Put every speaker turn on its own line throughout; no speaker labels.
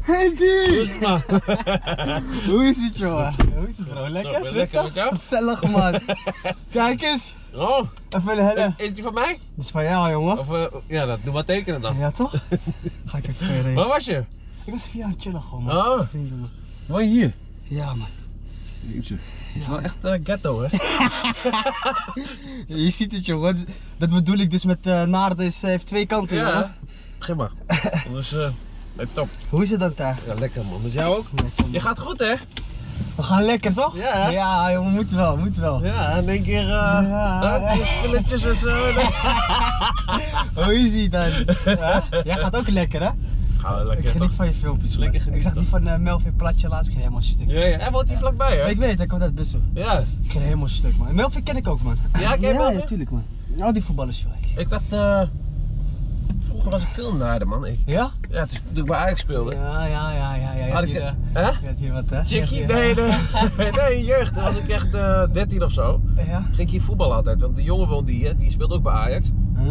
Henty!
Rustig man.
Hoe is het jongen? Hoe is het bro?
Zo,
Lekker?
ben lekker met jou?
Gezellig man. Kijk eens.
Oh,
Even een helle.
is die van mij?
Dit is van jou jongen.
Of eh, ja, dat, doe maar tekenen dan.
Ja toch? Ga ik even verder.
Waar was je?
Ik was via aan het chillen gewoon man.
Oh.
Met Vrienden man.
Mooi hier.
Ja man.
Het is wel echt eh, ghetto hè.
Je ziet het jongen. Dat bedoel ik dus met eh naarden is, eh, heeft twee kanten jongen.
Geef maar. Dus eh, nee, top.
Hoe is het dan daar?
Ja, lekker man. Met jou ook? Je gaat goed hè?
We gaan lekker toch?
Ja.
Ja jongen, moet wel, moet wel.
Ja, in één keer eh
Ja.
eh, spulletjes en zo. Nee.
Hoe is het dan? Ja? Jij gaat ook lekker hè?
Gaan we lekker
Ik geniet
toch?
van je filmpjes. man.
Lekker genieten,
Ik zag die van eh, Melvin Platje laatst, ik ging helemaal stuk.
Ja, ja. Hij woont hier vlakbij hè?
Ik weet, hij komt uit Bussen.
Ja.
Ik ging helemaal stuk, man. Melvin ken ik ook, man.
Ja, ken je
ja,
Melvin?
ja, tuurlijk, man. Al die voetballers, joh.
Ik had... eh, vroeger was ik veel naarder man. Ik,
Ja?
ja, dus, toen ik bij Ajax speelde.
Ja, ja, ja, ja. ja. Je,
Had
had
ik...
hier, eh,
hè?
je had hier wat, hè? Je had
Chickie?
hier-
Nee, nee. Nee, jeugd. Dan was ik echt eh 13 of zo.
Ja?
Ging ik hier voetballen altijd. Want de jongen woonde hier. Die speelde ook bij Ajax.
Huh?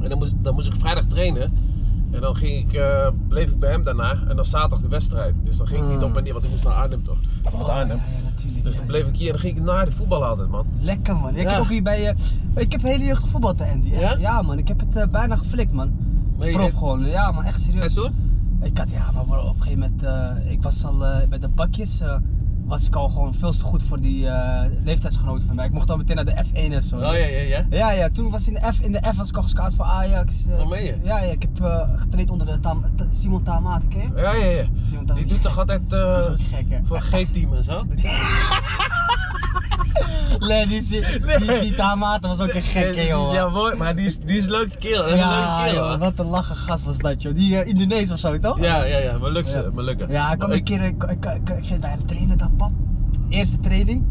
En dan moest, dan moest ik vrijdag trainen. En dan ging ik, eh, bleef ik bij hem daarna. En dan zaterdag de wedstrijd. Dus dan ging ik
Ah.
niet op en neer. Want ik moest naar Arnhem toch. Ik moet naar
Oh, ja,
Arnhem.
ja, natuurlijk.
Dus
ja,
dan bleef ik hier. En dan ging ik naar de voetbal altijd, man.
ja. Lekker, man. Ja, Ik
Ja.
heb ook hier bij... eh, ik heb hele jeugd gevoetbald, hè, Andy. hè?
Ja?
Ja, man. Ik heb het eh, bijna geflikt, man.
Maar je-
Prof gewoon. Ja, man. Echt serieus.
En toen?
Ik had, ja, maar bro, op een gegeven moment, eh, ik was al eh, bij de bakjes, eh, was ik al gewoon veel te goed voor die eh, leeftijdsgenoten van mij. Ik mocht al meteen naar de F1 en zo.
Oh ja, ja, ja.
Ja, ja, toen was in de F, in de F was ik al gescout voor Ajax. eh.
Oh, meen je?
Ja, ja, ik heb eh, getraind onder de Tam- Ta- Simon Tamaat, ken je?
Ja, ja, ja.
Simon Tamaat.
Die doet toch altijd eh,
Die is ook gek, hè?
voor G-team en zo?
Nee, die, is- die, die, Tamaat was ook een gekke, joh.
Ja, mooi. Maar die is, die is een leuke kerel. Dat is een leuke kerel, hoor.
wat een lachen gast was dat, joh. Die eh, Indonesisch of zo, toch?
Ja, ja, ja, maar lukt ze,
Ja.
maar lukken.
Ja, ik kwam
Maar
een keer, ik, ik, ik, ik ging bij hem trainen dan, pap. Eerste training.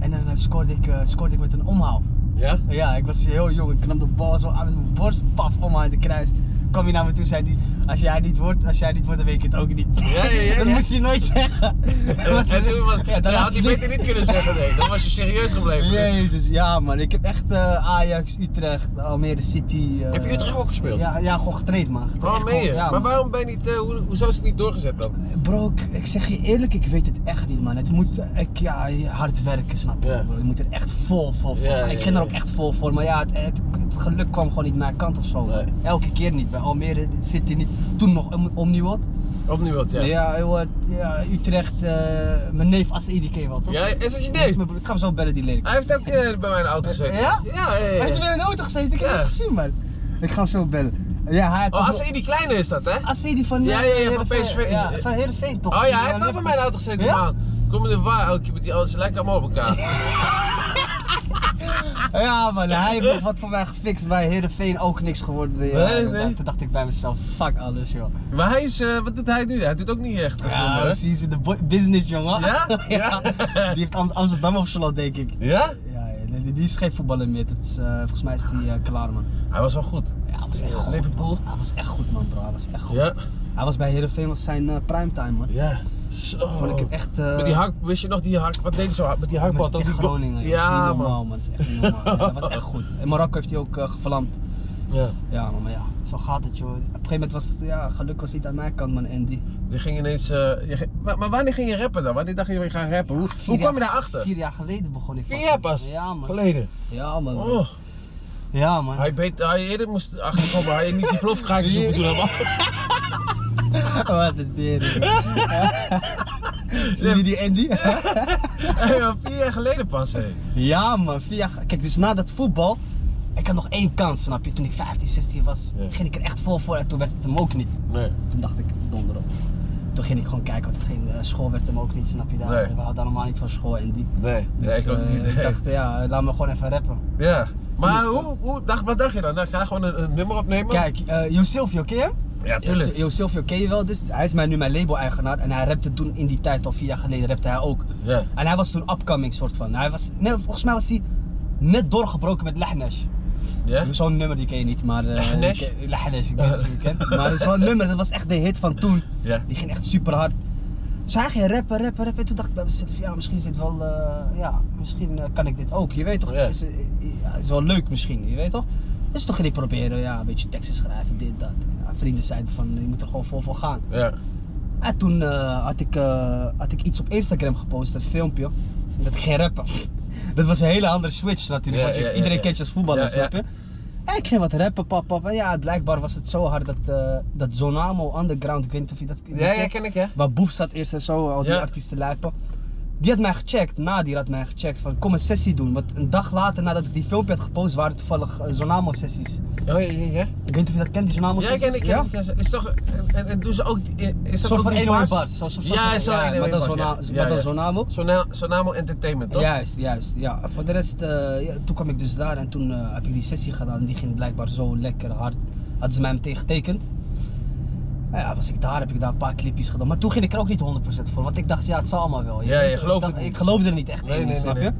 En dan eh, scoorde, ik, eh, scoorde ik met een omhaal.
Ja?
Ja, ik was dus heel jong. Ik nam de bal zo aan met mijn borst. Paf, omhaal in de kruis. Kwam hij naar me toe zei hij, als jij niet wordt, als jij niet wordt, dan weet ik het ook niet.
Ja, ja, ja,
dat
ja.
moest hij nooit zeggen.
En, en toen was, ja,
daarna
had hij beter niet kunnen zeggen, nee. Dan was je serieus gebleven.
Jezus, ja man. Ik heb echt eh, Ajax, Utrecht, Almere City. eh,
Heb je Utrecht ook gespeeld?
Ja, ja gewoon getraind man.
Waarom
Echt
meen je?
gewoon- ja,
maar
man.
waarom ben je niet, eh, hoe, hoezo is het niet doorgezet dan?
Bro, ik, ik zeg je eerlijk, ik weet het echt niet, man. Het moet ik, ja, hard werken, snap je?
Ja.
bro. Je moet er echt vol voor. voor
Ja,
gaan.
ja,
ik ging er
ja.
ook echt vol voor, maar ja, het, het, het geluk kwam gewoon niet naar mijn kant of zo.
Nee.
man. Elke keer niet. Bij Almere zit hij niet. Toen nog om, Omniwot.
Opnieuw wat, ja.
Ja, joh, ja, Utrecht, eh, mijn neef Asse keer wel, toch?
Ja, is dat je
Dat is
neef?
mijn broer. Ik ga hem zo bellen, die lelijk.
Hij heeft ook eh, bij mij in de auto gezeten.
Ja?
Ja, ja, ja.
Hij heeft er weer in de auto gezeten, ik heb
Ja.
hem eens gezien, man. Ik ga hem zo bellen. Ja, hij had
Oh,
ook-
als die kleine is dat, hè?
Asse die van... eh,
Ja, ja, ja, van
Heerenveen.
PSV.
Ja, van Heerenveen, toch?
Oh ja,
Die,
hij
eh,
heeft ook bij mij in de auto gezeten,
Ja?
man. Kom in de waar, elke keer met die auto's, ze lijken allemaal op elkaar.
Ja man, hij heeft nog wat voor mij gefixt bij Heerenveen ook niks geworden. Ja,
Nee,
dat-
nee.
Toen dacht ik bij mezelf, fuck alles joh.
Maar hij is, eh, wat doet hij nu? Hij doet ook niet echt eh, veel
Ja,
meer, hè?
precies, in de bo- business jongen.
Ja?
Ja. Die heeft Am- Amsterdam op slot denk ik.
Ja?
Ja, ja, die, die- die is geen voetballer meer. Dat is, eh, volgens mij is die eh, klaar man.
Hij was wel goed.
Ja, hij was echt goed.
Liverpool.
man. Hij was echt goed man bro, hij was echt goed.
Ja.
Hij was bij Heerenveen was zijn eh, primetime man.
Ja. Zo.
Vond ik hem echt... eh,
Met die hak, wist je nog die hak? Wat deed hij zo hard? Met die
met
hakbal?
tegen
die go-
Groningen. dat is
Ja,
niet normaal
man.
man. Dat is echt niet normaal. Ja, hij was echt goed. In Marokko heeft hij ook eh, gevlamd.
Ja.
Ja, man, maar ja, zo gaat het joh. Op een gegeven moment was het, ja, geluk was niet aan mijn kant man, Andy.
Die ging ineens. eh, je ging- maar, maar wanneer ging je rappen dan? Wanneer dacht je weer gaan rappen? Hoe, hoe kwam je daarachter?
Vier jaar geleden begon ik
Vier
pas,
jaar
man.
pas?
Ja man.
Geleden.
Ja man.
Oh,
Ja man.
hij, beet, hij eerder moest achterkomen, hij had niet die plofkraakjes hoeven doen. man.
Wat een tering. Zie je die Andy?
Hey, maar vier jaar geleden pas. hé.
ja man, vier jaar. ge- Kijk, dus na dat voetbal, ik had nog één kans, snap je? Toen ik 15, 16 was,
Ja.
ging ik er echt vol voor en toen werd het hem ook niet.
Nee.
Toen dacht ik, donder op. Toen ging ik gewoon kijken, want het ging, eh, school werd hem ook niet, snap je? Daar,
Nee.
We hadden allemaal niet van school, Andy.
Nee,
Dus,
ik ook
eh,
niet.
ik
nee.
dacht, ja, laat me gewoon even rappen.
Ja. Maar
is dat?
hoe, hoe dacht, wat dacht je dan? Nou, ga gewoon een, een nummer opnemen?
Kijk, eh Jo Silvio, ken je hem?
Ja,
Jo-
tuurlijk.
Jo Silvio ken je wel, dus hij is mij nu mijn label-eigenaar en hij rapte toen in die tijd, al vier jaar geleden, rapte hij ook.
Ja.
En hij was toen upcoming soort van. Hij was, nee, volgens mij was hij net doorgebroken met Lahnesh.
Ja?
Zo'n nummer die ken je niet, maar... eh,
Lahnesh?
ik ken- Lahnesh, ik weet niet of je het kent. Maar het is wel een nummer, dat was echt de hit van toen.
Ja.
Die ging echt super hard. Dus hij ging rappen, rappen, rappen. En toen dacht ik bij mezelf, ja, misschien is dit wel, eh, ja, misschien eh, kan ik dit ook. Je weet toch,
Ja.
is, eh, ja, is wel leuk misschien, je weet toch? Dus toen ging ik proberen, ja, een beetje teksten schrijven, dit, dat. Ja, vrienden zeiden van, je moet er gewoon vol voor gaan.
Ja.
En toen eh, had, ik, eh, had ik iets op Instagram gepost, een filmpje. En Dat ik ging rappen. Dat was een hele andere switch natuurlijk.
Ja,
want je-
ja, ja,
iedereen
ja.
kent je als voetballer,
Ja,
snap je?
ja.
En ik ging wat rappen, pap, pap. En ja, blijkbaar was het zo hard dat, eh, dat Zonamo Underground, ik weet niet of je dat dat
Ja, ja,
kent.
ken ik, ja.
Waar Boef zat eerst en zo, al die
Ja.
artiesten lijpen. Die had mij gecheckt, Nadir had mij gecheckt van kom een sessie doen. Want een dag later nadat ik die filmpje had gepost waren toevallig eh, Zonamo-sessies.
Oh, ja, ja, ja.
Ik weet niet of je dat kent, die
Ja,
Zonamo-sessies.
ik ken ik, ken ik. ja, ze- Is toch, en- en, en doen ze ook, is dat
Een soort
ook
van
die
101
bars?
bars. Zo, zo, zo,
ja,
zo,
zo,
ja,
101
maar dan
bars,
Zona-
ja.
maar
Ja,
dan
ja.
Zonamo.
Sona- Sonamo Entertainment, toch?
Juist, juist. Ja. Voor de rest, eh, ja, toen kwam ik dus daar en toen eh, heb ik die sessie gedaan. Die ging blijkbaar zo lekker hard. Hadden ze mij meteen getekend. Nou ja, was ik daar, heb ik daar een paar clipjes gedaan. Maar toen ging ik er ook niet 100% voor, want ik dacht, ja, het zal allemaal wel.
Ja,
weet,
je gelooft
ik,
het
dacht-
niet.
ik geloofde er niet echt
Nee,
in,
nee,
snap
nee,
je?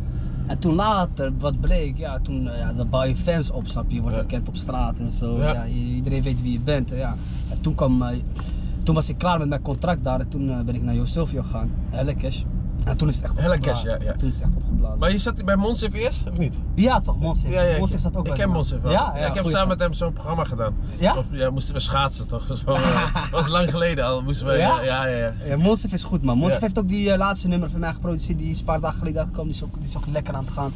En toen later, wat bleek, ja, toen eh, ja, dan bouw je fans op, snap je? Je wordt
Ja.
bekend op straat en zo.
Ja.
Ja. i- iedereen weet wie je bent. hè, Ja. En toen, kwam, eh, toen was ik klaar met mijn contract daar en toen eh, ben ik naar Josilvio gegaan, Hellekesh. En toen is het echt
Hellekesh,
opgeblazen.
ja, ja.
Toen is het echt opgeblazen.
Maar je zat bij Monsif eerst, of niet?
Ja toch, Monsif.
Ja, ja, ik-
Monsif zat ook
Ik
bij
ken
zo'n-
Monsif wel.
Ja,
Ja, ik heb
goeie
samen
gast.
met hem zo'n programma gedaan.
Ja?
Op- ja, moesten we schaatsen toch? Dat was lang geleden al. Moesten we, ja?
Ja?
Ja, ja, ja.
Ja, Monsif is goed man. Monsif
Ja.
heeft ook die eh, laatste nummer van mij geproduceerd die is een paar dagen geleden uitkwam. Die is ook, die is ook lekker aan het gaan.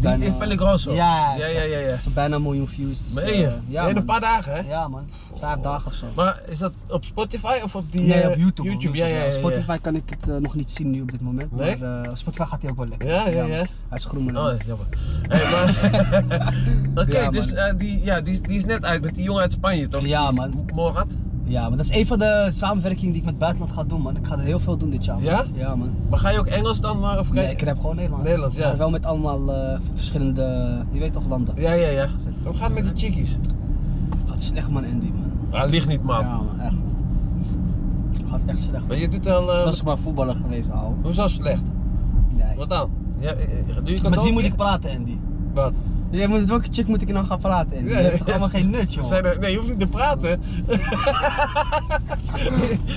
Die in Pellegrosso.
Ja,
ja, ja, ja. ja.
Zo bijna een miljoen views. Dus,
Meen
eh,
je?
ja,
in
man.
een paar dagen, hè?
Ja man, vijf dagen of zo.
Maar is dat op Spotify of op die...
Nee,
eh,
op YouTube. op
YouTube, ja, ja, ja, ja.
Spotify kan ik het eh, nog niet zien nu op dit moment.
Nee?
Maar eh, Spotify gaat hij ook wel lekker.
Ja, ja, ja.
man. Hij is groen man.
Oh, jammer. Hey, maar... Oké,
Ja,
dus
man.
eh, die, ja, die, die is net uit met die jongen uit Spanje, toch?
Ja, man.
Die Morat.
Ja, maar dat is een van de samenwerkingen die ik met het buitenland ga doen man. Ik ga er heel veel doen dit jaar. man.
Ja?
Ja man.
Maar ga je ook Engels dan? eh, Of kijk...
Nee, ik heb gewoon Nederlands.
Nederlands, ja.
Maar wel met allemaal eh, verschillende, je weet toch, landen.
Ja, ja, ja. Hoe gaat het met die chickies?
Gaat slecht man, Andy man.
Ah, ligt niet, man.
Ja man, echt man. Gaat echt slecht man.
Maar je doet al... eh,
Dat is maar voetballer geweest, ouwe.
Hoezo slecht?
Nee.
Wat dan? Ja, eh, eh, doe je
Met
kantoor?
wie moet ik praten, Andy?
Wat?
Jij moet, welke chick moet ik nou gaan praten, Andy?
Ja,
Je hebt toch
ja,
allemaal geen nut,
Ze
joh.
zijn er- nee, je hoeft niet te praten.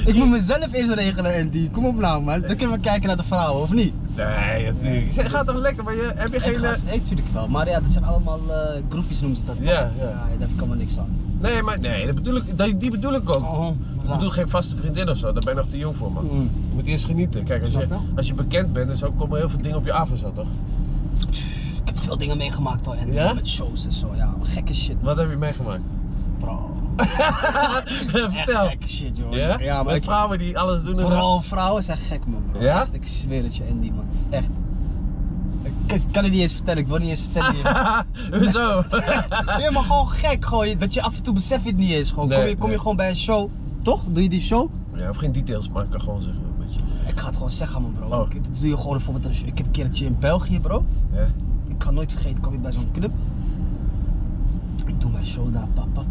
Ik moet mezelf eerst regelen, Andy. Kom op nou, man. Dan kunnen we kijken naar de vrouwen, of niet?
Nee, natuurlijk. Ze gaat toch lekker, maar je, heb je
Ik
geen...
ga
eh,
ze- Nee, natuurlijk wel. Maar ja, dat zijn allemaal eh, groepjes, noemen ze dat.
Ja,
dan.
ja.
daar kan maar niks aan.
Nee, maar nee, dat bedoel ik, dat- die bedoel ik ook.
Oh,
Ik bedoel geen vaste vriendin of zo, daar ben je nog te jong voor, man.
Mm.
Je moet eerst genieten. Kijk, als
Snap
je,
je?
als je bekend bent, dan zo komen heel veel dingen op je af en zo, toch?
Ik heb veel dingen meegemaakt, hoor, Andy.
Ja?
Met shows en zo, ja. Gekke shit,
Wat heb je meegemaakt?
bro. Echt
Vertel.
gekke shit, joh.
Ja?
maar
Met
ik...
vrouwen die alles doen en zo.
Bro, vrouwen zijn gek, man. Bro.
Ja?
Echt, ik zweer het je, Andy, man. Echt. Ik kan- kan het niet eens vertellen, ik wil niet eens vertellen. hier.
Hoezo?
Nee, maar gewoon gek, gewoon, dat je af en toe beseft je het niet eens. Gewoon.
Nee,
kom je, kom
nee.
je gewoon bij een show, toch? Doe je die show?
ja, hoef geen details, maar ik kan gewoon zeggen een beetje.
Ik ga het gewoon zeggen, man, bro.
Oh.
Ik, dat doe je gewoon bijvoorbeeld een show. Ik heb een keertje in België, bro.
Ja.
Ik ga nooit vergeten, kwam ik bij zo'n club. Ik doe mijn show daar, papa.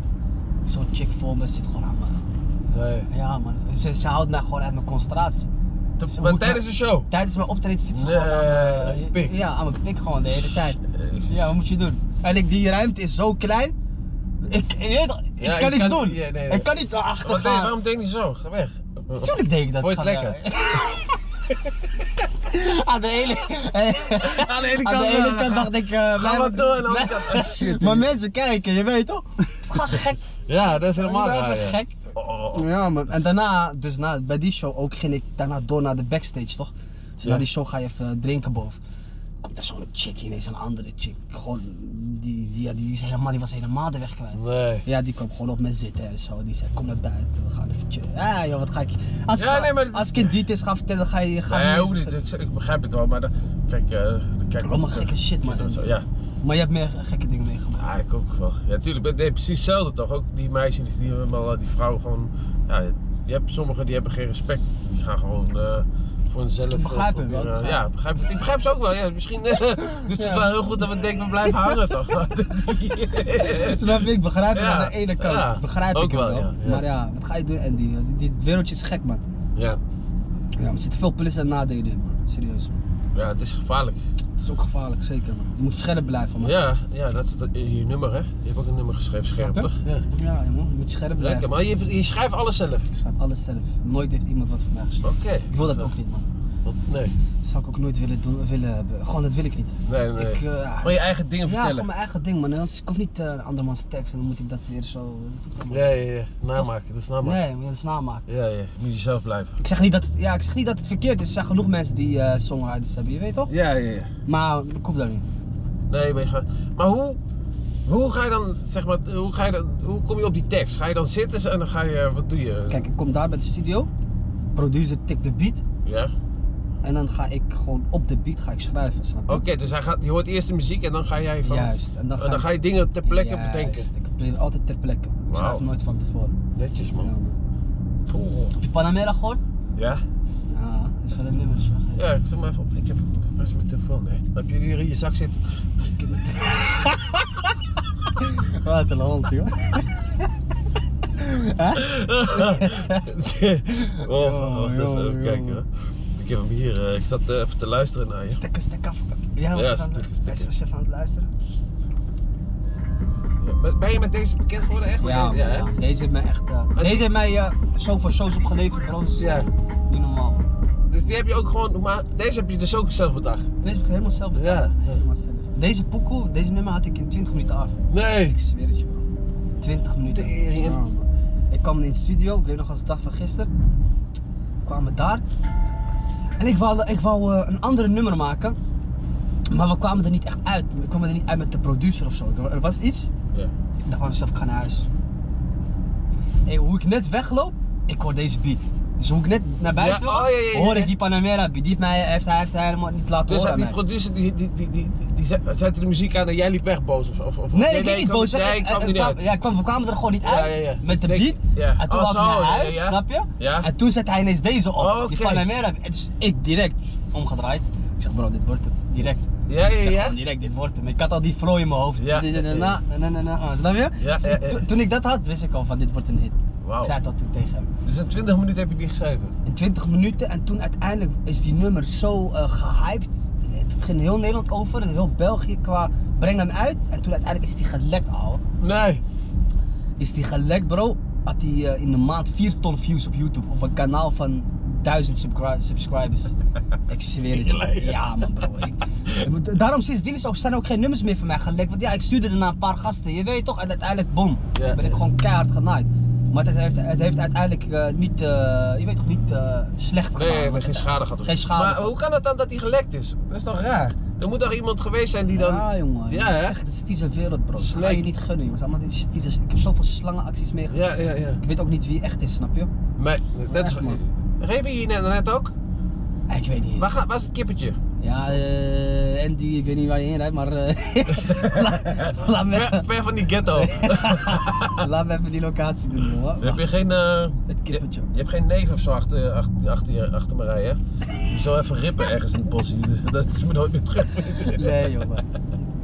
Zo'n chick voor me zit gewoon aan me.
Nee.
Ja, man. Ze, ze houdt mij gewoon uit mijn concentratie.
Te-
Ze
maar
moet
tijdens de
maar-
show?
Tijdens mijn optreden zit ze
Nee,
gewoon aan mijn-
aan je pik.
Ja, aan mijn pik gewoon de hele tijd.
Jezus.
Ja, wat moet je doen? En ik, die ruimte is zo klein. Ik, je weet toch, ik
Ja, je
kan niks
kan-
doen.
ja, nee, nee.
Ik kan niet naar achter
Wat deed,
gaan.
je- waarom denk je zo? Ga weg.
Tuurlijk deed ik dat.
Vond je het
gewoon,
lekker?
ja. Aan de ene,
Aan de ene
aan de
kant,
ene
eh,
kant
ga-
dacht ik... eh,
Ga
blijf-
maar door en dan
blijf-
oh, shit.
Maar mensen kijken, je weet toch? Het gaat gek.
Ja, dat is helemaal
Ik ben
raar.
even
ja.
gek.
Oh, oh, oh.
Ja, man. En daarna, dus na, bij die show ook, ging ik daarna door naar de backstage, toch? Dus
Ja.
na die show ga je even drinken boven. Komt er zo'n chick ineens, een andere chick. Gewoon, die, die, ja, die, is helemaal, die was helemaal de weg kwijt.
Nee.
Ja, die kwam gewoon op me zitten en zo. Die zei, kom naar buiten, we gaan even chillen. Ja, joh, wat ga ik... Als,
Ja,
ik, ga-
nee, maar dit is-
als ik in details ga vertellen, ga je... Ga
Nee,
je
ook niet. Ik, ik begrijp het wel, maar dan, kijk, eh dan kijk ik
Allemaal
ook, eh,
gekke shit, man.
en zo, Ja,
Maar je hebt meer gekke dingen meegemaakt.
ja, ik ook wel. Ja, tuurlijk. ben- Nee, precies hetzelfde toch? Ook die meisjes, die, die, helemaal, eh, die vrouwen gewoon. Ja, je hebt sommigen die hebben geen respect. Die gaan gewoon eh, voor hunzelf. eh,
Begrijp hem wel,
proberen-
begrijp.
Ja, begrijp, ik begrijp ze ook wel. Ja, misschien eh, doet ze het
Ja.
wel heel goed dat we denken we blijven hangen toch?
Snap je? Ik begrijp het
Ja,
aan de ene kant.
ja,
begrijp
ook
ik hem
wel,
wel.
ja, ja.
Maar ja, wat ga je doen, Andy? Dit wereldje is gek, man.
ja.
Ja, maar er zitten veel plussen en nadelen in, man. Serieus, man.
ja, het is gevaarlijk.
Het is ook gevaarlijk, zeker, man. Je moet scherp blijven, man.
Ja, ja, dat is het- je nummer hè. Je hebt ook een nummer geschreven, scherp
Snap
toch?
je?
Ja.
Ja, man. Je moet scherp blijven.
Lekker, maar je, je schrijft alles zelf.
Ik snap alles zelf. Nooit heeft iemand wat voor mij geschreven.
Oké.
Ik wil dat ook niet, man.
Dat, nee,
zou ik ook nooit willen doen. Willen, hebben. gewoon, dat wil ik niet.
nee, nee.
Ik, eh,
Gewoon je eigen dingen
ja,
vertellen.
gewoon mijn eigen ding, man. Anders- Ik hoef niet eh, een andermans tekst en dan moet ik dat weer zo. Dat hoeft allemaal
Ja, ja, ja. Namaken, dat
niet.
is namaken.
Nee, maar dat is namaak.
Ja, ja. Moet je zelf blijven.
Ik zeg, niet dat het, ja, ik zeg niet dat het verkeerd is. Er zijn genoeg mensen die eh songwriters hebben, je weet toch?
Ja, ja, ja.
Maar ik hoef dat niet.
Nee, maar, je gaat... maar hoe, hoe ga je dan, zeg maar, hoe, ga je dan, hoe kom je op die tekst? Ga je dan zitten en dan ga je, wat doe je?
Kijk, ik kom daar bij de studio. Producer tikt de beat.
Ja? Oké,
En dan ga ik gewoon op de beat ga ik schrijven, snap je?
dus hij gaat, je hoort eerst de muziek en dan ga jij van... Oh,
Juist. En dan
Dan
ga,
ga,
ik-
je dingen ter plekke
Juist,
bedenken.
Ik plan altijd ter plekke. Ik schrijf
Wauw.
nooit van tevoren.
Netjes
Ja.
man.
Heb je Panamera gehoord?
Ja?
Ja, dat is wel een nummer. zo.
Ja, ik zet maar even op. Ik heb, waar is mijn telefoon? Nee. Heb je die hier in je zak zitten?
Wat een hond, joh.
oh, wacht even,
joh,
even kijken
joh.
hoor. Ik heb hem hier, eh, ik zat eh, even te luisteren naar je.
Stekken, stekken. Jij was
Ja,
even aan het-
stekken,
jij
stekken.
was even aan het luisteren.
Ja, Ben je met deze bekend geworden echt?
Ja,
Met
man,
deze,
ja. deze heeft mij echt. eh, deze heeft mij eh, zo voor shows opgeleverd, bro. Dat is
Ah, Ja.
niet normaal.
Dus die heb je ook gewoon, maar deze heb je dus ook zelf bedacht.
Deze heb ik helemaal zelf bedacht.
Ja.
Helemaal zelf. Deze pokoe, deze nummer had ik in 20 minuten af.
Nee.
Ik zweer het je, bro. 20 minuten.
Tering.
Ja, man. ik kwam in de studio, ik weet nog als de dag van gisteren. We kwamen daar. En ik wou, ik wou eh, een andere nummer maken. Maar we kwamen er niet echt uit. We kwamen er niet uit met de producer of zo. Er was iets.
Ja.
Ik dacht bij mezelf, ik ga naar huis. Hey, hoe ik net wegloop, ik hoor deze beat. Dus hoe ik net naar buiten
Ja,
loop,
oh, ja, ja, ja,
hoor
ja.
ik die Panamera beat. Die heeft, mij, heeft, hij, heeft hij helemaal niet laten
Dus
horen aan
die
mij.
producer die, die, die, die, die, die zet- zette de muziek aan en jij liep weg boos of, of, of
Nee, ik ging niet
kwam-
boos weg.
Nee, ik
Eh,
kwam
eh,
niet
kwam-
uit.
Ja, kwam, we kwamen er gewoon niet
Ja,
uit
ja, ja.
met de
Denk-
beat.
ja.
En toen
Oh,
was ik
zo,
naar
ja,
huis,
ja.
snap je?
Ja.
En toen zette hij ineens deze op,
Oh,
die
oké.
Panamera. beat. Dus ik direct omgedraaid. Ik zeg bro, dit wordt het. Direct.
Ja,
Ik
ja,
zeg
ja.
gewoon direct, dit wordt hem. Ik had al die flow in mijn hoofd.
Ja.
Na, na, na, na, na, Snap je?
Ja,
Dus
ja,
ik-
ja.
to- Toen ik dat had, wist ik al van dit wordt een hit.
Wauw.
Ik zei het al toen tegen hem.
Dus in 20 minuten heb je die geschreven.
In 20 minuten en toen uiteindelijk is die nummer zo eh, gehyped. Het ging heel Nederland over, heel België qua breng hem uit. En toen uiteindelijk is die gelekt al.
Nee.
Is die gelekt bro. Had die eh, in de maand 4 ton views op YouTube. Op een kanaal van 1000 subscri- subscribers. ik zweer het. je.
Gelijk.
Ja man bro. Ik, daarom sindsdien is ook, zijn ook geen nummers meer van mij gelekt. Want ja, ik stuurde er naar een paar gasten. Je weet toch? En uiteindelijk boom.
Ja.
Ben ik gewoon keihard genaaid. Maar het heeft, het heeft uiteindelijk eh, niet, eh, je weet toch, niet eh, slecht gedaan.
Nee, nee,
Want
geen schade gehad.
Geen schade
Maar
gehad.
hoe kan het dan dat die gelekt is? Dat is toch raar? Er moet toch iemand geweest zijn die dan...
Ja, jongen.
Ja,
Ik
hè?
zeg, het is een vieze wereld, bro. Dat ga
Snake.
je niet gunnen, jongens. Allemaal dit is vieze... Ik heb zoveel slangenacties meegemaakt.
Ja, ja, ja.
Ik weet ook niet wie echt is, snap je?
Maar dat is...
Echt, man.
Reed je hier net, net ook?
Ik weet niet.
Waar, ga- waar is het kippetje?
Ja, eh Andy, ik weet niet waar je heen rijdt, maar... eh, laat, laat, me
Ver,
even,
ver van die ghetto.
laat me even die locatie doen, jongen.
Heb je geen... eh,
Het kippetje.
Je, je hebt geen neef of zo achter, achter, achter, je- achter me rijden, hè? Je zou even rippen ergens in het bos. Dat is me nooit meer terug.
Nee, jongen.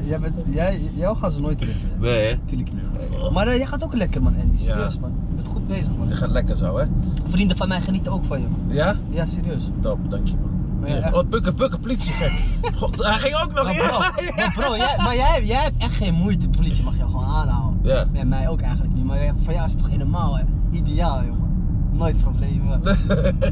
Jij bent, jij, jou gaan ze nooit rippen.
Nee, hè?
Natuurlijk niet, gast.
Oh.
Maar eh, jij gaat ook lekker, man, Andy. Serieus,
Ja.
man. Je bent goed bezig,
Het
man.
gaat lekker zo, hè?
Vrienden van mij genieten ook van je, man.
Ja?
Ja, serieus.
Top, dank je, man.
Ja, echt.
oh, bukken, bukken, politie, gek. God, hij ging ook nog in.
Maar Nou, bro, maar bro jij, maar jij, jij hebt echt geen moeite. De politie mag jou gewoon aanhouden.
Ja.
Nee, mij ook eigenlijk niet. Maar jij- voor jou is het toch helemaal hè? ideaal, jongen. Nooit problemen.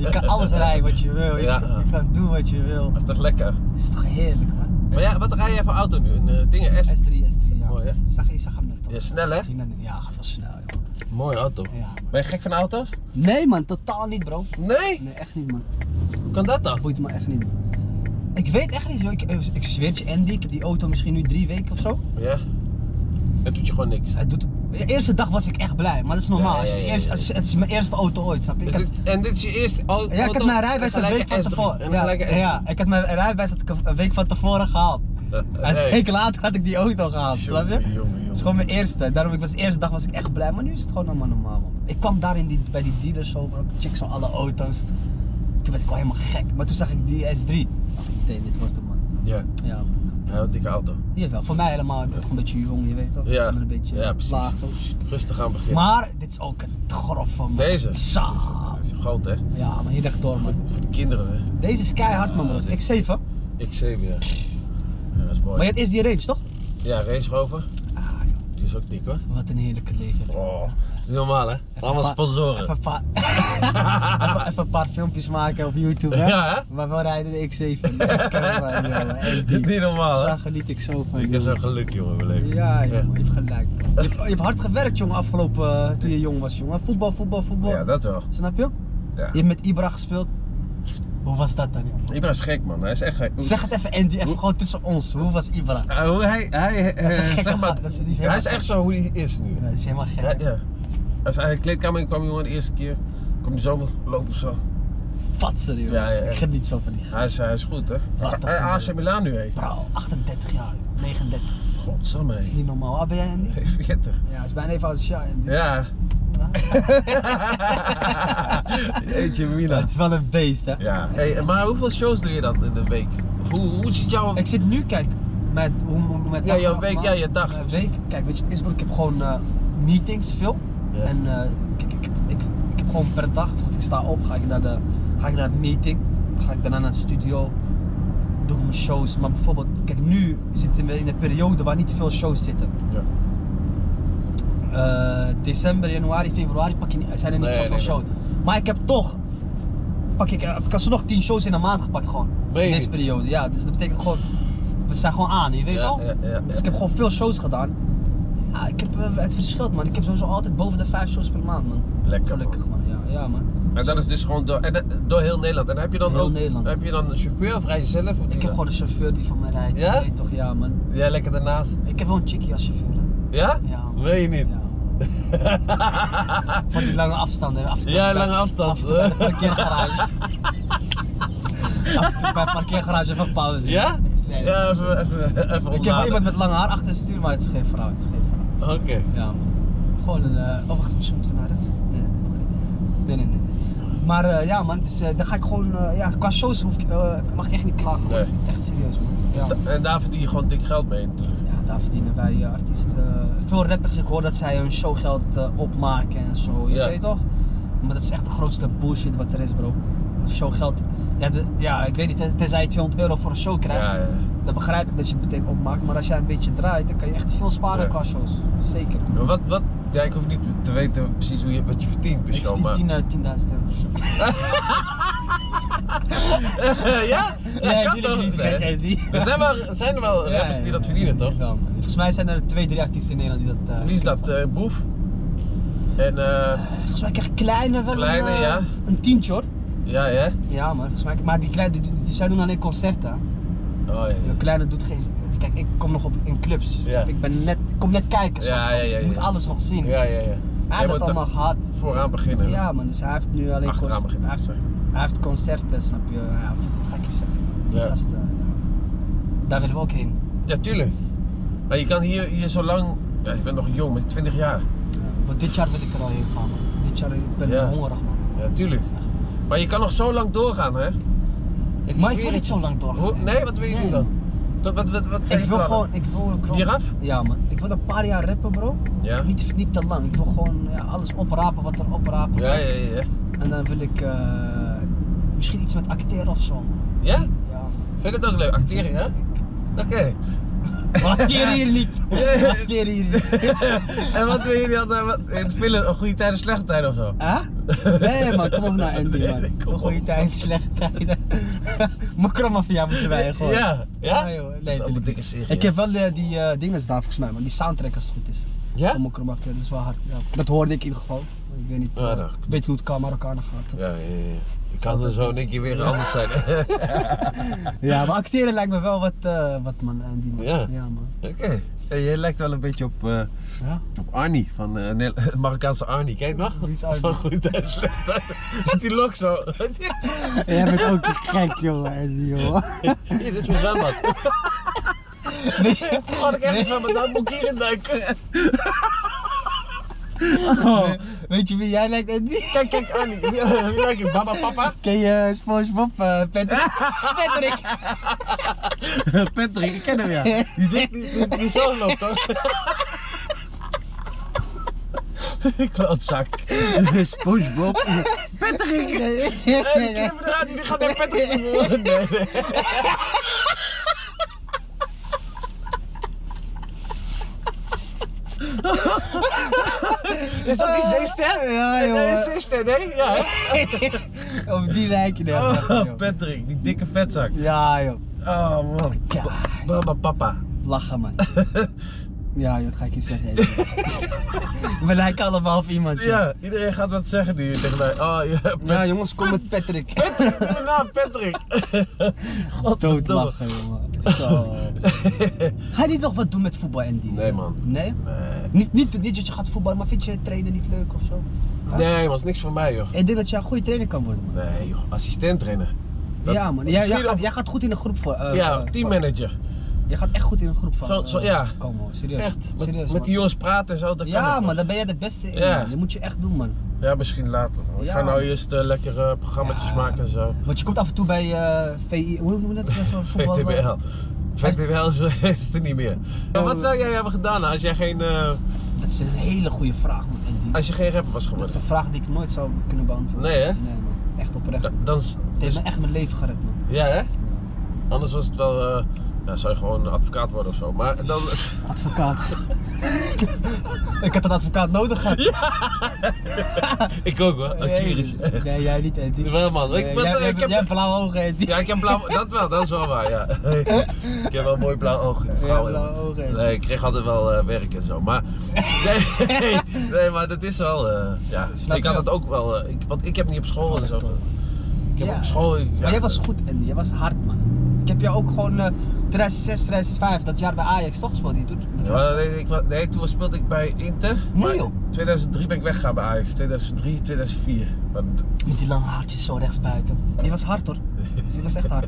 je kan alles rijden wat je wil. Je,
Ja.
kan- je kan doen wat je wil.
Dat is toch lekker?
Het is toch heerlijk, man.
Maar ja, wat rij jij voor auto nu? Een eh, dingen S?
S3, S3, ja.
Mooi, hè?
Zag je, zag hem net toch?
Ja, snel hè?
Die net- Ja, gaat wel snel, joh.
Mooie auto.
Ja, man.
Ben je gek van auto's?
Nee, man, totaal niet, bro.
Nee?
Nee, echt niet, man.
Hoe kan dat dan?
Boeit me echt niet. Ik weet echt niet, joh. Ik, eh, ik switch Andy. Ik heb die auto misschien nu drie weken of zo.
Ja. Het doet je gewoon niks.
Het doet, de eerste dag was ik echt blij, maar dat is normaal.
Ja,
Als je
ja,
de
ja,
eerste,
ja.
als je- het is mijn eerste auto ooit, snap je? Ik
Is
had,
Dus dit- en dit is je eerste au- auto?
ja, ik had mijn rijbewijs
en
een week
gelijk
van
S3. En
tevoren.
dan
Ja,
gelijk een S3.
ja, ik had mijn rijbewijs had ik een week van tevoren gehaald. En een
Nee.
week later had ik die auto gehaald, snap je?
Jongen, jongen, jongen.
Het is gewoon mijn eerste. Daarom ik was de eerste dag was ik echt blij, maar nu is het gewoon allemaal normaal. Man. Ik kwam daar in die, bij die dealer zo, bro. Ik check zo alle auto's. Toen werd ik al helemaal gek, maar toen zag ik die S3. Dacht ik meteen, dit wordt hem man.
Ja,
Ja, man.
ja wat een dikke auto.
Jawel, voor mij helemaal. Ik ben toch een beetje jong, je weet toch?
Ja.
Ik ben Een beetje
Ja, precies.
laag, zo.
Rustig aan beginnen.
Maar dit is ook een grove man.
Deze?
Saam.
Dat is groot hè?
Ja, maar hier rechtdoor man.
Voor de kinderen hè?
Deze is keihard man bro. Dat is X7.
Ik zie hem, ja. Ja, dat is
Maar je
mooi.
hebt eerst die range toch?
Ja, Range Rover.
Ah joh.
Die Die is ook dik hoor.
Wat een heerlijke leven.
Oh, niet normaal hè? Allemaal
pa- Even
sponsoren.
een, paar, even, even een paar filmpjes maken op YouTube, hè?
Ja, hè?
Maar wel rijden de X7. Ja, kijk maar, jongen. Hey, die-
Niet normaal hè?
Daar geniet ik zo van.
Ik heb
jongen.
zo'n geluk jongen, mijn leven.
Ja, jongen, je hebt gelijk. Je hebt, je hebt hard gewerkt, jongen, afgelopen eh, toen je jong was, jongen. Voetbal, voetbal, voetbal.
Ja, dat wel.
Snap je?
Ja.
Je hebt met Ibra gespeeld. Hoe was dat dan, jongen?
Ibra is gek man, hij is echt gek. Hoe-
Zeg het even, Andy, even gewoon tussen ons. Hoe was Ibra?
Ah, hoe hij, hij,
is een
eh,
gekke
zeg maar,
gast, dat is- die is
hij
helemaal
is
gek.
echt zo hoe hij is nu.
Ja, dat is helemaal
Ja,
gek.
ja. Als hij de kleedkamer in kwam, jongen, de eerste keer, kwam hij zo lopen zo.
Fatser, jongen.
Ja, ja, ja.
Ik geniet zo van die gast.
Hij is, hij is goed, hè?
Wat een
Hij AC
goeie.
Milan nu, hé.
Bro, 38 jaar, 39.
Godsamme,
Dat is
hé.
niet normaal. Ah, ben jij Andy?
40.
Ja, het is bijna even als ja. Andy.
Ja. Jeetje,
Ja,
Milan.
het is wel een beest, hè?
Ja. Hey, maar hoeveel shows doe je dan in de week? Of hoe, hoe ziet jouw...
Ik zit nu, kijk, met hoe hoe- met
Ja,
dag
jouw
af,
week,
man.
ja, je dag.
Mijn week, kijk, weet je, het is wat ik heb gewoon eh, meetings veel.
Ja.
En eh, ik, ik, ik, ik heb gewoon per dag, bijvoorbeeld, ik sta op, ga ik naar de, ga ik naar een meeting, ga ik daarna naar de studio, doe ik mijn shows. Maar bijvoorbeeld, kijk, nu zitten we in een periode waar niet veel shows zitten.
Ja.
Eh, december, januari, februari pak je niet, zijn er niet
Nee,
zoveel
nee, nee.
shows. Maar ik heb toch, pak ik, heb ik alsnog 10 shows in een maand gepakt gewoon.
Meen
in
je?
deze periode, ja. Dus dat betekent gewoon, we zijn gewoon aan, je weet
Ja,
al.
ja, ja,
dus
ja.
ik heb gewoon veel shows gedaan. Ja, ik heb, eh, het verschilt man, ik heb sowieso altijd boven de 5 shows per maand man.
Lekker, man.
Gelukkig man, ja, ja man.
En dat is dus gewoon door, en, eh, door heel Nederland. En heb je dan
Heel
ook...
Nederland.
Heb je dan een chauffeur of rij je zelf? Hoe doe je
Ik heb
dat?
gewoon een chauffeur die van mij rijdt,
Ja?
je weet toch, ja man.
Jij lekker daarnaast?
Ik heb wel een chickie als chauffeur hè.
Ja?
Ja.
Wil je niet?
Ja. Van die lange afstanden. Af en toe
Ja,
bij-
lange afstand.
Af en toe bij de parkeergarage. af en toe bij de parkeergarage even pauze.
Ja?
Nee,
Ja, even, even, even
Ik heb wel
ontladen.
iemand met lang haar achter het stuur, maar het is geen vrouw. Het is geen vrouw.
Oké.
Ja, man. Gewoon een. eh oh, wacht, misschien moeten we naar rechts. Nee, nee, nog niet. nee, nee, nee. nee. Maar eh, ja, man, dus, eh dan ga ik gewoon. eh, ja, qua shows hoef ik, eh, mag ik echt niet klagen. hoor.
Nee.
Echt serieus, man.
Dus
Ja.
da- en daar verdien je gewoon dik geld mee natuurlijk.
Ja, daar verdienen wij eh, artiesten. eh, veel rappers, ik hoor dat zij hun showgeld eh, opmaken en zo. Je
Ja.
weet toch? Maar dat is echt de grootste bullshit wat er is, bro. Showgeld. Ja, de- ja ik weet niet, ten- tenzij je 200 euro voor een show krijgt.
Ja, ja.
Dan begrijp ik dat je het meteen opmaakt. Maar als jij een beetje draait, dan kan je echt veel sparen
Ja.
qua shows. Zeker.
Maar wat, wat, ja, ik hoef niet te- te weten precies hoe je, wat je verdient per
Ik
show, maar...
verdien 10.000 eh, euro. per show.
ja? Ja,
Nee,
kan
die
toch?
doe ik niet,
Nee.
gek, hè, die.
Er zijn wel, zijn er wel
Ja,
rappers
ja,
die dat
ja,
verdienen,
ja,
toch?
dan. Volgens mij zijn er twee, drie artiesten in Nederland die dat. eh,
Wie is dat? Eh, Boef? En, eh...
Volgens mij krijgt Kleine wel
Kleine,
een, eh,
ja.
een tientje hoor.
ja, hè?
Ja, maar volgens mij. Maar die kleine, die, die- zij doen alleen concerten.
Oh, ja.
De kleine doet geen. Kijk, ik kom nog op, in clubs.
Ja.
Ik, ben net, ik kom net kijken. soort
Ja,
van,
ja,
dus
ja,
ik
ja.
moet alles nog zien.
Ja, ja, ja.
Hij
Jij
heeft
moet
dat
er
allemaal gehad.
Vooraan beginnen.
Ja, man, dus hij heeft nu alleen
Achteraan
concerten.
beginnen,
Hij, heeft-
zeg ik.
hij heeft concerten, snap je? Ja, wat ga ik je zeggen? Die
Ja.
gasten, ja. Daar willen we ook heen.
Ja, tuurlijk. Maar je kan hier, hier zo lang... Ja, je bent nog jong, met 20 jaar.
Want dit jaar wil ik er al heen gaan, man. Dit jaar ik ben ik
Ja.
hongerig, man.
Ja, tuurlijk. Maar je kan nog zo lang doorgaan, hè? Ik
Maar ik
zweer
wil niet
het.
zo lang doorgaan.
Hoe- nee, wat wil je
Nee.
doen dan? Tot- wat, wat, wat zijn
Ik
je
wil
plannen?
gewoon, ik wil, ik wil...
Hieraf?
Ja man, ik wil een paar jaar rappen bro.
Ja.
Niet, niet te lang, ik wil gewoon ja, alles oprapen wat er oprapen
Ja,
kan.
ja, ja. ja.
En dan wil ik eh, misschien iets met acteren of zo.
Ja?
Ja.
Vind je dat ook leuk? Acteren, hè? Oké.
Acteren hier niet!
Ja.
Acteren hier niet!
en wat wil je dan eh, wat, in het filmen? Een goede tijd, een slechte tijd of zo?
Hè? Nee man, kom op naar Andy
Nee,
man.
kom op.
Goeie tijd, slechte tijden. Makromafia moeten wij gewoon.
Ja. Ja?
joh, nee,
dat is ook
tuurlijk.
een dikke serie.
Ik heb wel eh, die eh dingen gedaan volgens mij man, die soundtrack als het goed is.
Ja?
Om Makromafia, dat is wel hard. Ja. Dat hoorde ik in ieder geval. Ik weet niet, eh,
Ja, dat-
ik weet hoe het kan Marokkanen gaat.
Ja, ja, ja. Ik kan er zo in één keer weer anders zijn. Oké.
Ja, maar acteren lijkt me wel wat, eh, wat man Andy man.
Ja.
man.
Hey, jij lijkt wel een beetje op, eh,
Ja?
op Arnie, van eh, Nel- Marokkaanse Arnie. Kijk nog.
Wie is Arnie?
Van goede tijd, slechte tijd. Met die lok zo.
Jij bent ook gek jongen Andy jongen.
Hier, dit is mijn zwembad.
Nee.
Vroeger had ik echt een zwembad, daar moet ik hier in duiken.
Nee, Weet je wie jij lijkt Eh, Andy?
Kijk, kijk, Arnie. Wie, wie lijkt je? Baba, papa?
Ken je SpongeBob, eh, Patrick? Patrick!
Patrick, ik ken hem ja. Die, dik- die, die, die zo loopt toch? Klootzak. Spongebob.
Nee,
Patrick!
nee,
Hey,
nee,
die
nee.
knippen eruit, die gaat naar Patrick. Nee, nee.
Is dat die zeester? Ja,
Nee,
joh.
zuster, nee? Ja.
Op die lijken nee, man,
Oh,
joh.
Patrick, die dikke vetzak.
Ja, joh.
Oh man.
Ja.
Ba- Baba papa.
Lachen, man. Ja, joh, dat ga ik je zeggen. joh. We lijken allemaal op iemand. joh.
Ja, iedereen gaat wat zeggen nu tegen mij. Oh, ja, Pat-
Ja, jongens, kom met Patrick.
Patrick, noem mijn naam Patrick. Godverdomme.
Doodlachen, jongen. Zo. Ga je niet nog wat doen met voetbal, Andy?
Nee man.
Nee?
Nee.
Niet, niet, niet dat je gaat voetballen, maar vind je trainen niet leuk of zo?
Nee man, is niks voor mij joh.
Ik denk dat jij een goede trainer kan worden, man.
Nee joh, assistent trainen.
ja, man. Jij, jij, gaat, jij gaat goed in een groep voor. eh,
Ja,
eh,
teammanager.
Jij gaat echt goed in een groep van.
Zo- zo-
eh,
ja.
Komen, hoor. serieus.
Echt.
serieus
Met,
man.
met die jongens praten en zo, dat kan
Ja,
ik wel.
man, daar ben jij de beste in.
Ja.
man. Dat moet je echt doen, man.
Ja, misschien later. man. Ik
Ja,
ga nou
man.
eerst eh, lekker eh, programma's
Ja.
maken en zo.
Want je komt af en toe bij eh, VI. Hoe noem je dat? eh, Zo'n voetbal-
VTBL. VTBL is, is er niet meer. Maar wat zou jij hebben gedaan als jij geen, eh,
Dat is een hele goede vraag, man. Andy.
als je geen rapper was
Dat is
geworden?
een vraag die ik nooit zou kunnen beantwoorden.
Nee, hè?
Nee, man. Echt oprecht.
Da-
Het
Dan, is-
heeft
dus-
me echt mijn leven gered, man.
ja hè? Anders was het wel, eh, ja, zou je gewoon advocaat worden of zo. Maar dan,
Advocaat. ik had een advocaat nodig gehad.
ik ook hoor, als Jirisch.
nee, nee, jij niet, Andy.
Wel man, ik,
Nee,
ben-
jij, jij
ik heb...
jij hebt blauwe ogen, Andy.
Ja, ik heb blauw, dat wel, dat is wel waar, ja. ik heb wel mooi blauw oog.
Ja, blauwe ogen.
Nee, ik kreeg altijd wel eh, werk en zo, maar... Nee, nee maar dat is wel, eh, ja.
Snap
ik had
je? Oh,
het ook wel, eh, ik, want ik heb niet op school en zo.
Echt, hoor.
Ik heb
Ja.
op school... ja,
Maar jij was goed, Andy. Jij was hard, man. Ik heb jou ook gewoon eh 2006, 2005, dat jaar bij Ajax toch gespeeld. Die, toen, dat
ja,
was-
maar nee, ik, wa- nee, toen speelde ik bij Inter.
Nee,
maar
joh.
2003 ben ik weggegaan bij Ajax. 2003, 2004. Maar,
Met die lange haartjes zo rechts buiten. Die was hard hoor. Dus Die was echt hard.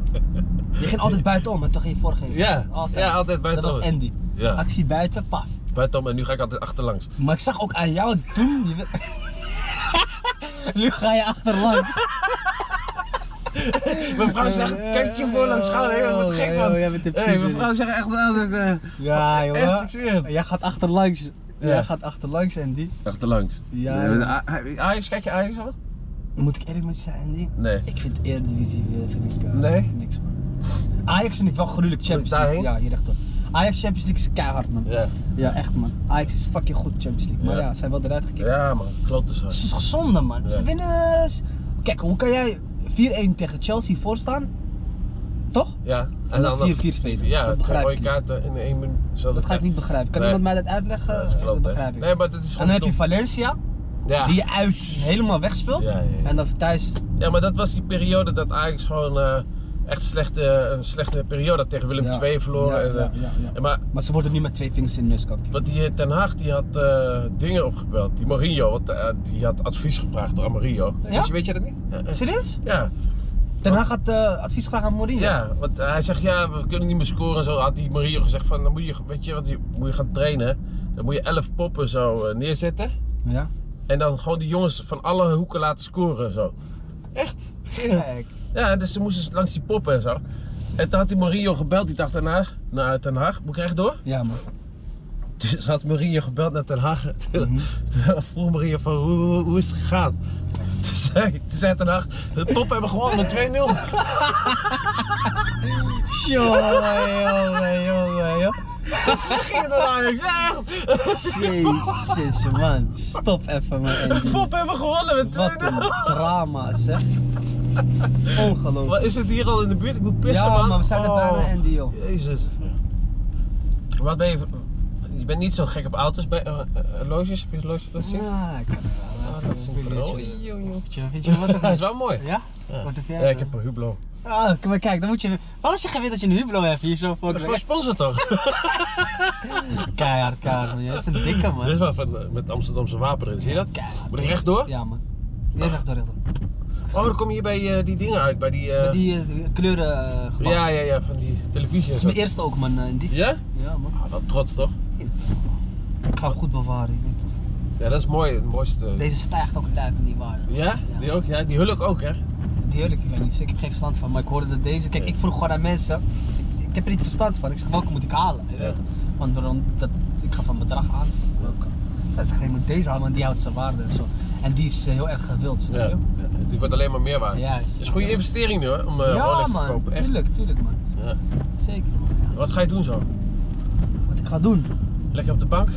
Je ging altijd buitenom, hè? toch geen voorgeven?
Ja, ja, altijd buitenom.
Dat was Andy.
Ja.
Actie buiten, paf.
bij Tom, en nu ga ik altijd achterlangs.
Maar ik zag ook aan jou toen. Je... wil- nu ga je achterlangs.
Mijn vrouw zegt, kijk je voor langs gaan. Hé, wat
Oh,
gek
joh,
man.
jij bent een
hey, mijn
piezer.
vrouw zegt echt altijd... eh,
Ja,
Echt, ik zweer het.
Jij gaat achterlangs.
Ja.
Jij gaat achterlangs, Andy.
Achterlangs.
Ja.
Nee, maar de A- Ajax, kijk je Ajax al?
Moet ik eerlijk met je zijn, Andy?
Nee.
Ik vind Eredivisie eh, vind ik, eh,
Nee?
niks man. Ajax vind ik wel gruwelijk Champions League.
daarheen?
Ja, hier rechtop. Ajax Champions League is keihard man.
Ja.
Ja, echt man. Ajax is fucking goed Champions League. Maar
Ja.
ja, ze zijn wel eruit gekeken.
Ja man, klopt dus wel.
Het is toch zonde man.
Ja.
Ze winnen. s- Kijk, hoe kan jij 4-1 tegen Chelsea voorstaan? Toch?
Ja.
En dan
nog-
4-4 spelen.
Ja,
Dat
twee
begrijp
rode
ik
kaarten in één minuut. Zelfde
Dat ga ik niet begrijpen. Kan
Nee.
iemand mij dat uitleggen?
Dat is klopt, hè.
begrijp ik.
Nee, maar dat
en dan
is gewoon
heb je
dom.
Valencia,
Ja.
die je uit helemaal wegspeelt.
Ja, ja, ja.
En dan thuis.
ja, maar dat was die periode dat Ajax gewoon eh, echt slechte, een slechte periode had tegen Willem
Ja.
II verloren.
Ja,
en,
ja,
eh,
ja, ja.
en maar
Maar ze worden nu met twee vingers in de neus kampioen.
Want die eh, Ten Haag die had eh, dingen opgebeld. Die Mourinho, want, eh, die had advies gevraagd door aan Mourinho.
Ja?
Dus weet je dat niet? Ja, eh,
Serieus?
Ja,
Den Haag had eh, advies graag aan Mourinho.
ja, want hij zegt ja, we kunnen niet meer scoren en zo. Had die Mourinho gezegd van, dan moet je, weet je wat, je moet je gaan trainen. Dan moet je elf poppen zo eh, neerzetten.
Ja.
En dan gewoon die jongens van alle hoeken laten scoren en zo. Echt?
Kijk.
Ja, dus ze moesten langs die poppen en zo. En toen had die Mourinho gebeld, die dacht Den Haag, naar Ten Haag, moet ik echt door?
Ja man.
Dus had Mourinho gebeld naar Den Haag. Toen toen vroeg Mourinho van hoe, hoe, hoe is het gegaan? Toen zei, toen zei Ten Haag, de poppen hebben gewonnen met 2-0.
Jongen, jongen, jongen, jongen.
Zo slecht ging het door Ajax, ja, echt.
Jezus man, stop even man
De
Andy.
poppen hebben gewonnen met
Wat een
2-0.
drama zeg. Ongelooflijk.
Wat is het hier al in de buurt? Ik moet pissen
Ja,
man. Oh.
maar we zijn er bijna, Andy, joh.
Jezus. Wat ben je... Je bent niet zo gek op auto's, bij, eh, eh, loges, heb je loges gezien?
Ja, ik kan er wel
Ah,
even
dat is een
een
vrouw.
beetje-
Jojo.
Vind je wat
Dat
een-
is wel mooi.
Ja?
Ja.
Wat heb jij
Ja,
dan?
ik heb een Hublot.
Ah, maar kijk, dan moet je... Waarom zeg je weer dat je een hublo hebt hier zo voor?
Dat is voor een sponsor toch?
Keihard, keihard man. Je hebt een dikke man.
Dit is wel van, eh, met Amsterdamse wapen erin, zie je dat?
Keihard.
Moet ik rechtdoor?
Ja man. Ja, rechtdoor, rechtdoor.
Oh, dan kom je bij eh, die dingen uit, bij die... eh,
Met die eh, kleuren eh, gebouw.
Ja, ja, ja, van die televisie en
Dat is
zo.
mijn eerste ook man, eh, in die.
Ja?
Ja man.
Ah, dat trots toch?
Ik ga hem goed bewaren, je weet toch.
Ja, dat is mooi, het mooiste.
Deze stijgt ook duik in die waarde.
Ja? Die ook, ja? Die hulk ook, hè?
Die heerlijk, ik weet niet, ik heb geen verstand van, maar ik hoorde dat deze. Kijk, ik vroeg gewoon aan mensen, ik, ik heb er niet verstand van. Ik zeg, welke moet ik halen? Je
Ja.
weet, want door, dat, ik ga van bedrag aan. Welke? Dat is degene moet deze halen, want die houdt zijn waarde en zo. En die is eh, heel erg gewild, snap
Ja.
je?
Die wordt alleen maar meer waard.
Ja,
Het is een goede investering nu, hoor, om eh
ja
Rolex te
man,
kopen. Echt.
tuurlijk, tuurlijk man.
Ja.
Zeker man.
Wat ga je doen zo?
Wat ik ga doen?
Lekker op de bank?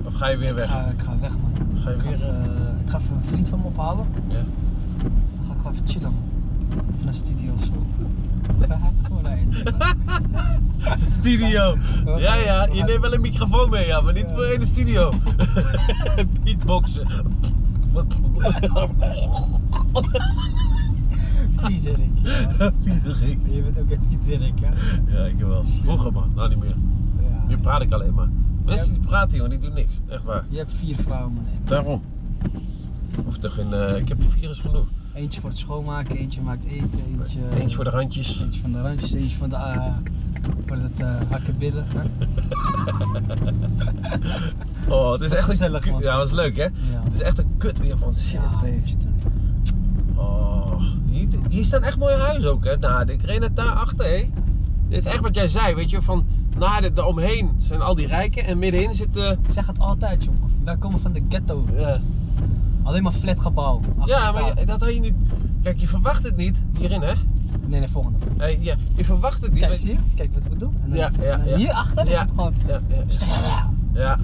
Of Of ga je weer
Ik
weg?
ga, ik ga weg, man.
Ga je
ik, ga,
weer?
eh, ik ga even een vriend van me ophalen.
Ja.
Dan ga ik gewoon even chillen, man. Even naar de studio of zo. Ja, Gewoon naar
Studio.
gaan-
Ja, ja.
we
Je
gaan-
neemt wel een microfoon mee, ja, maar niet
Ja.
voor in de studio. Beatboxen.
Piezerik.
Vierde gek.
Je bent ook een piezerik, ja.
Ja, ik wel. Vroeger man, nou niet meer.
Ja.
Nu praat ik alleen maar. Mensen die praten, jongen, die doen niks. Echt waar.
Je hebt vier vrouwen, man.
Daarom. Of toch een, eh, ik heb de virus genoeg.
Eentje voor het schoonmaken, eentje maakt eten, eentje...
Eentje voor de randjes.
Eentje van de randjes, eentje van de... eh, voor het eh, hakken bidden. hè.
Oh, het is
Was
echt
gezellig,
een kut.
man.
Ja, was leuk hè?
Ja.
Het is echt een kut weer man. Shit.
Ja,
hé.
eentje toen.
Oh, hier, hier staan echt mooie huizen ook, hè, Naarden. Ik reed net daarachter, hé. Dit is echt wat jij zei, weet je, van Naarden, daaromheen zijn al die rijken en middenin zitten...
Ik zeg het altijd, jongen. Wij komen van de ghetto.
Ja,
Alleen maar flatgebouw. Achter
ja maar
elkaar.
je- dat had je niet... Kijk, je verwacht het niet, hierin, hè.
Nee, nee, volgende.
Hé, ja, je verwacht het niet.
Kijk,
want-
zie je? Kijk wat ik bedoel. En dan,
Ja, ja,
en dan
ja.
hierachter is
Ja.
het gewoon...
Ja, ja, ja. ja.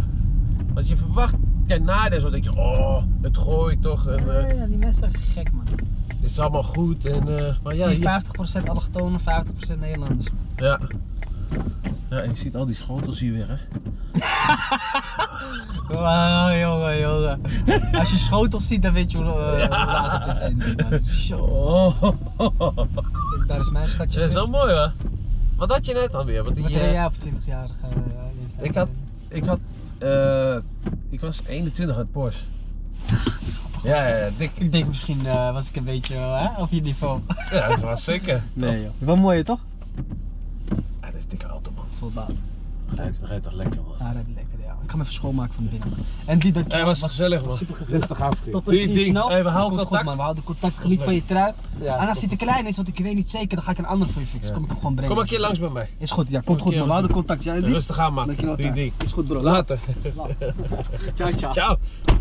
Want je verwacht... Kijk, Naarden en zo denk je, oh, het gooit toch en
Ja,
eh,
ja, die mensen zijn gek, man.
het is allemaal goed en... eh, maar ja,
Zie je,
hier-
50% allochtonen, 50% Nederlanders.
Ja. Ja, en je ziet al die schotels hier weer, hè.
Wauw, jongen, jongen. Als je schotels ziet, dan weet je hoe, eh, hoe laat het is. En, die, man. Zo.
Oh.
Daar is mijn schatje.
Ja, dat is wel mooi hoor. Wat had je net dan weer? Want
Wat
die,
reed
eh,
jij op 20-jarige? eh,
ik had, ik had, eh, ik was 21 uit Porsche. Ja, ja, ja, dik.
Ik denk misschien eh, was ik een beetje eh, hè, op je niveau.
Ja, dat was zeker.
joh. Wel mooi toch?
Ja, dat is een dikke auto man.
Soldaat.
Rijdt, rijdt toch lekker man.
Ja, dat is lekker, ja. Ik ga hem even schoonmaken van binnen. En die dat
Hij was gezellig man.
super gezellig.
60 afgekeerd.
Top, ik zie je
ding.
snel.
Hey, we houden
Komt goed,
contact.
man. We houden contact. Geniet van je trui. en als die te klein is, want ik weet niet zeker, dan ga ik een ander voor je fixen.
Ja.
Kom ik hem gewoon brengen.
Kom een keer langs bij mij.
Is goed, ja.
een
Komt goed,
keer
man. We houden contact. Ja, die-
Rustig aan man.
Dankjewel.
Drie
Taar.
ding.
Is goed, bro.
Later.
Ciao, ciao.
Ciao.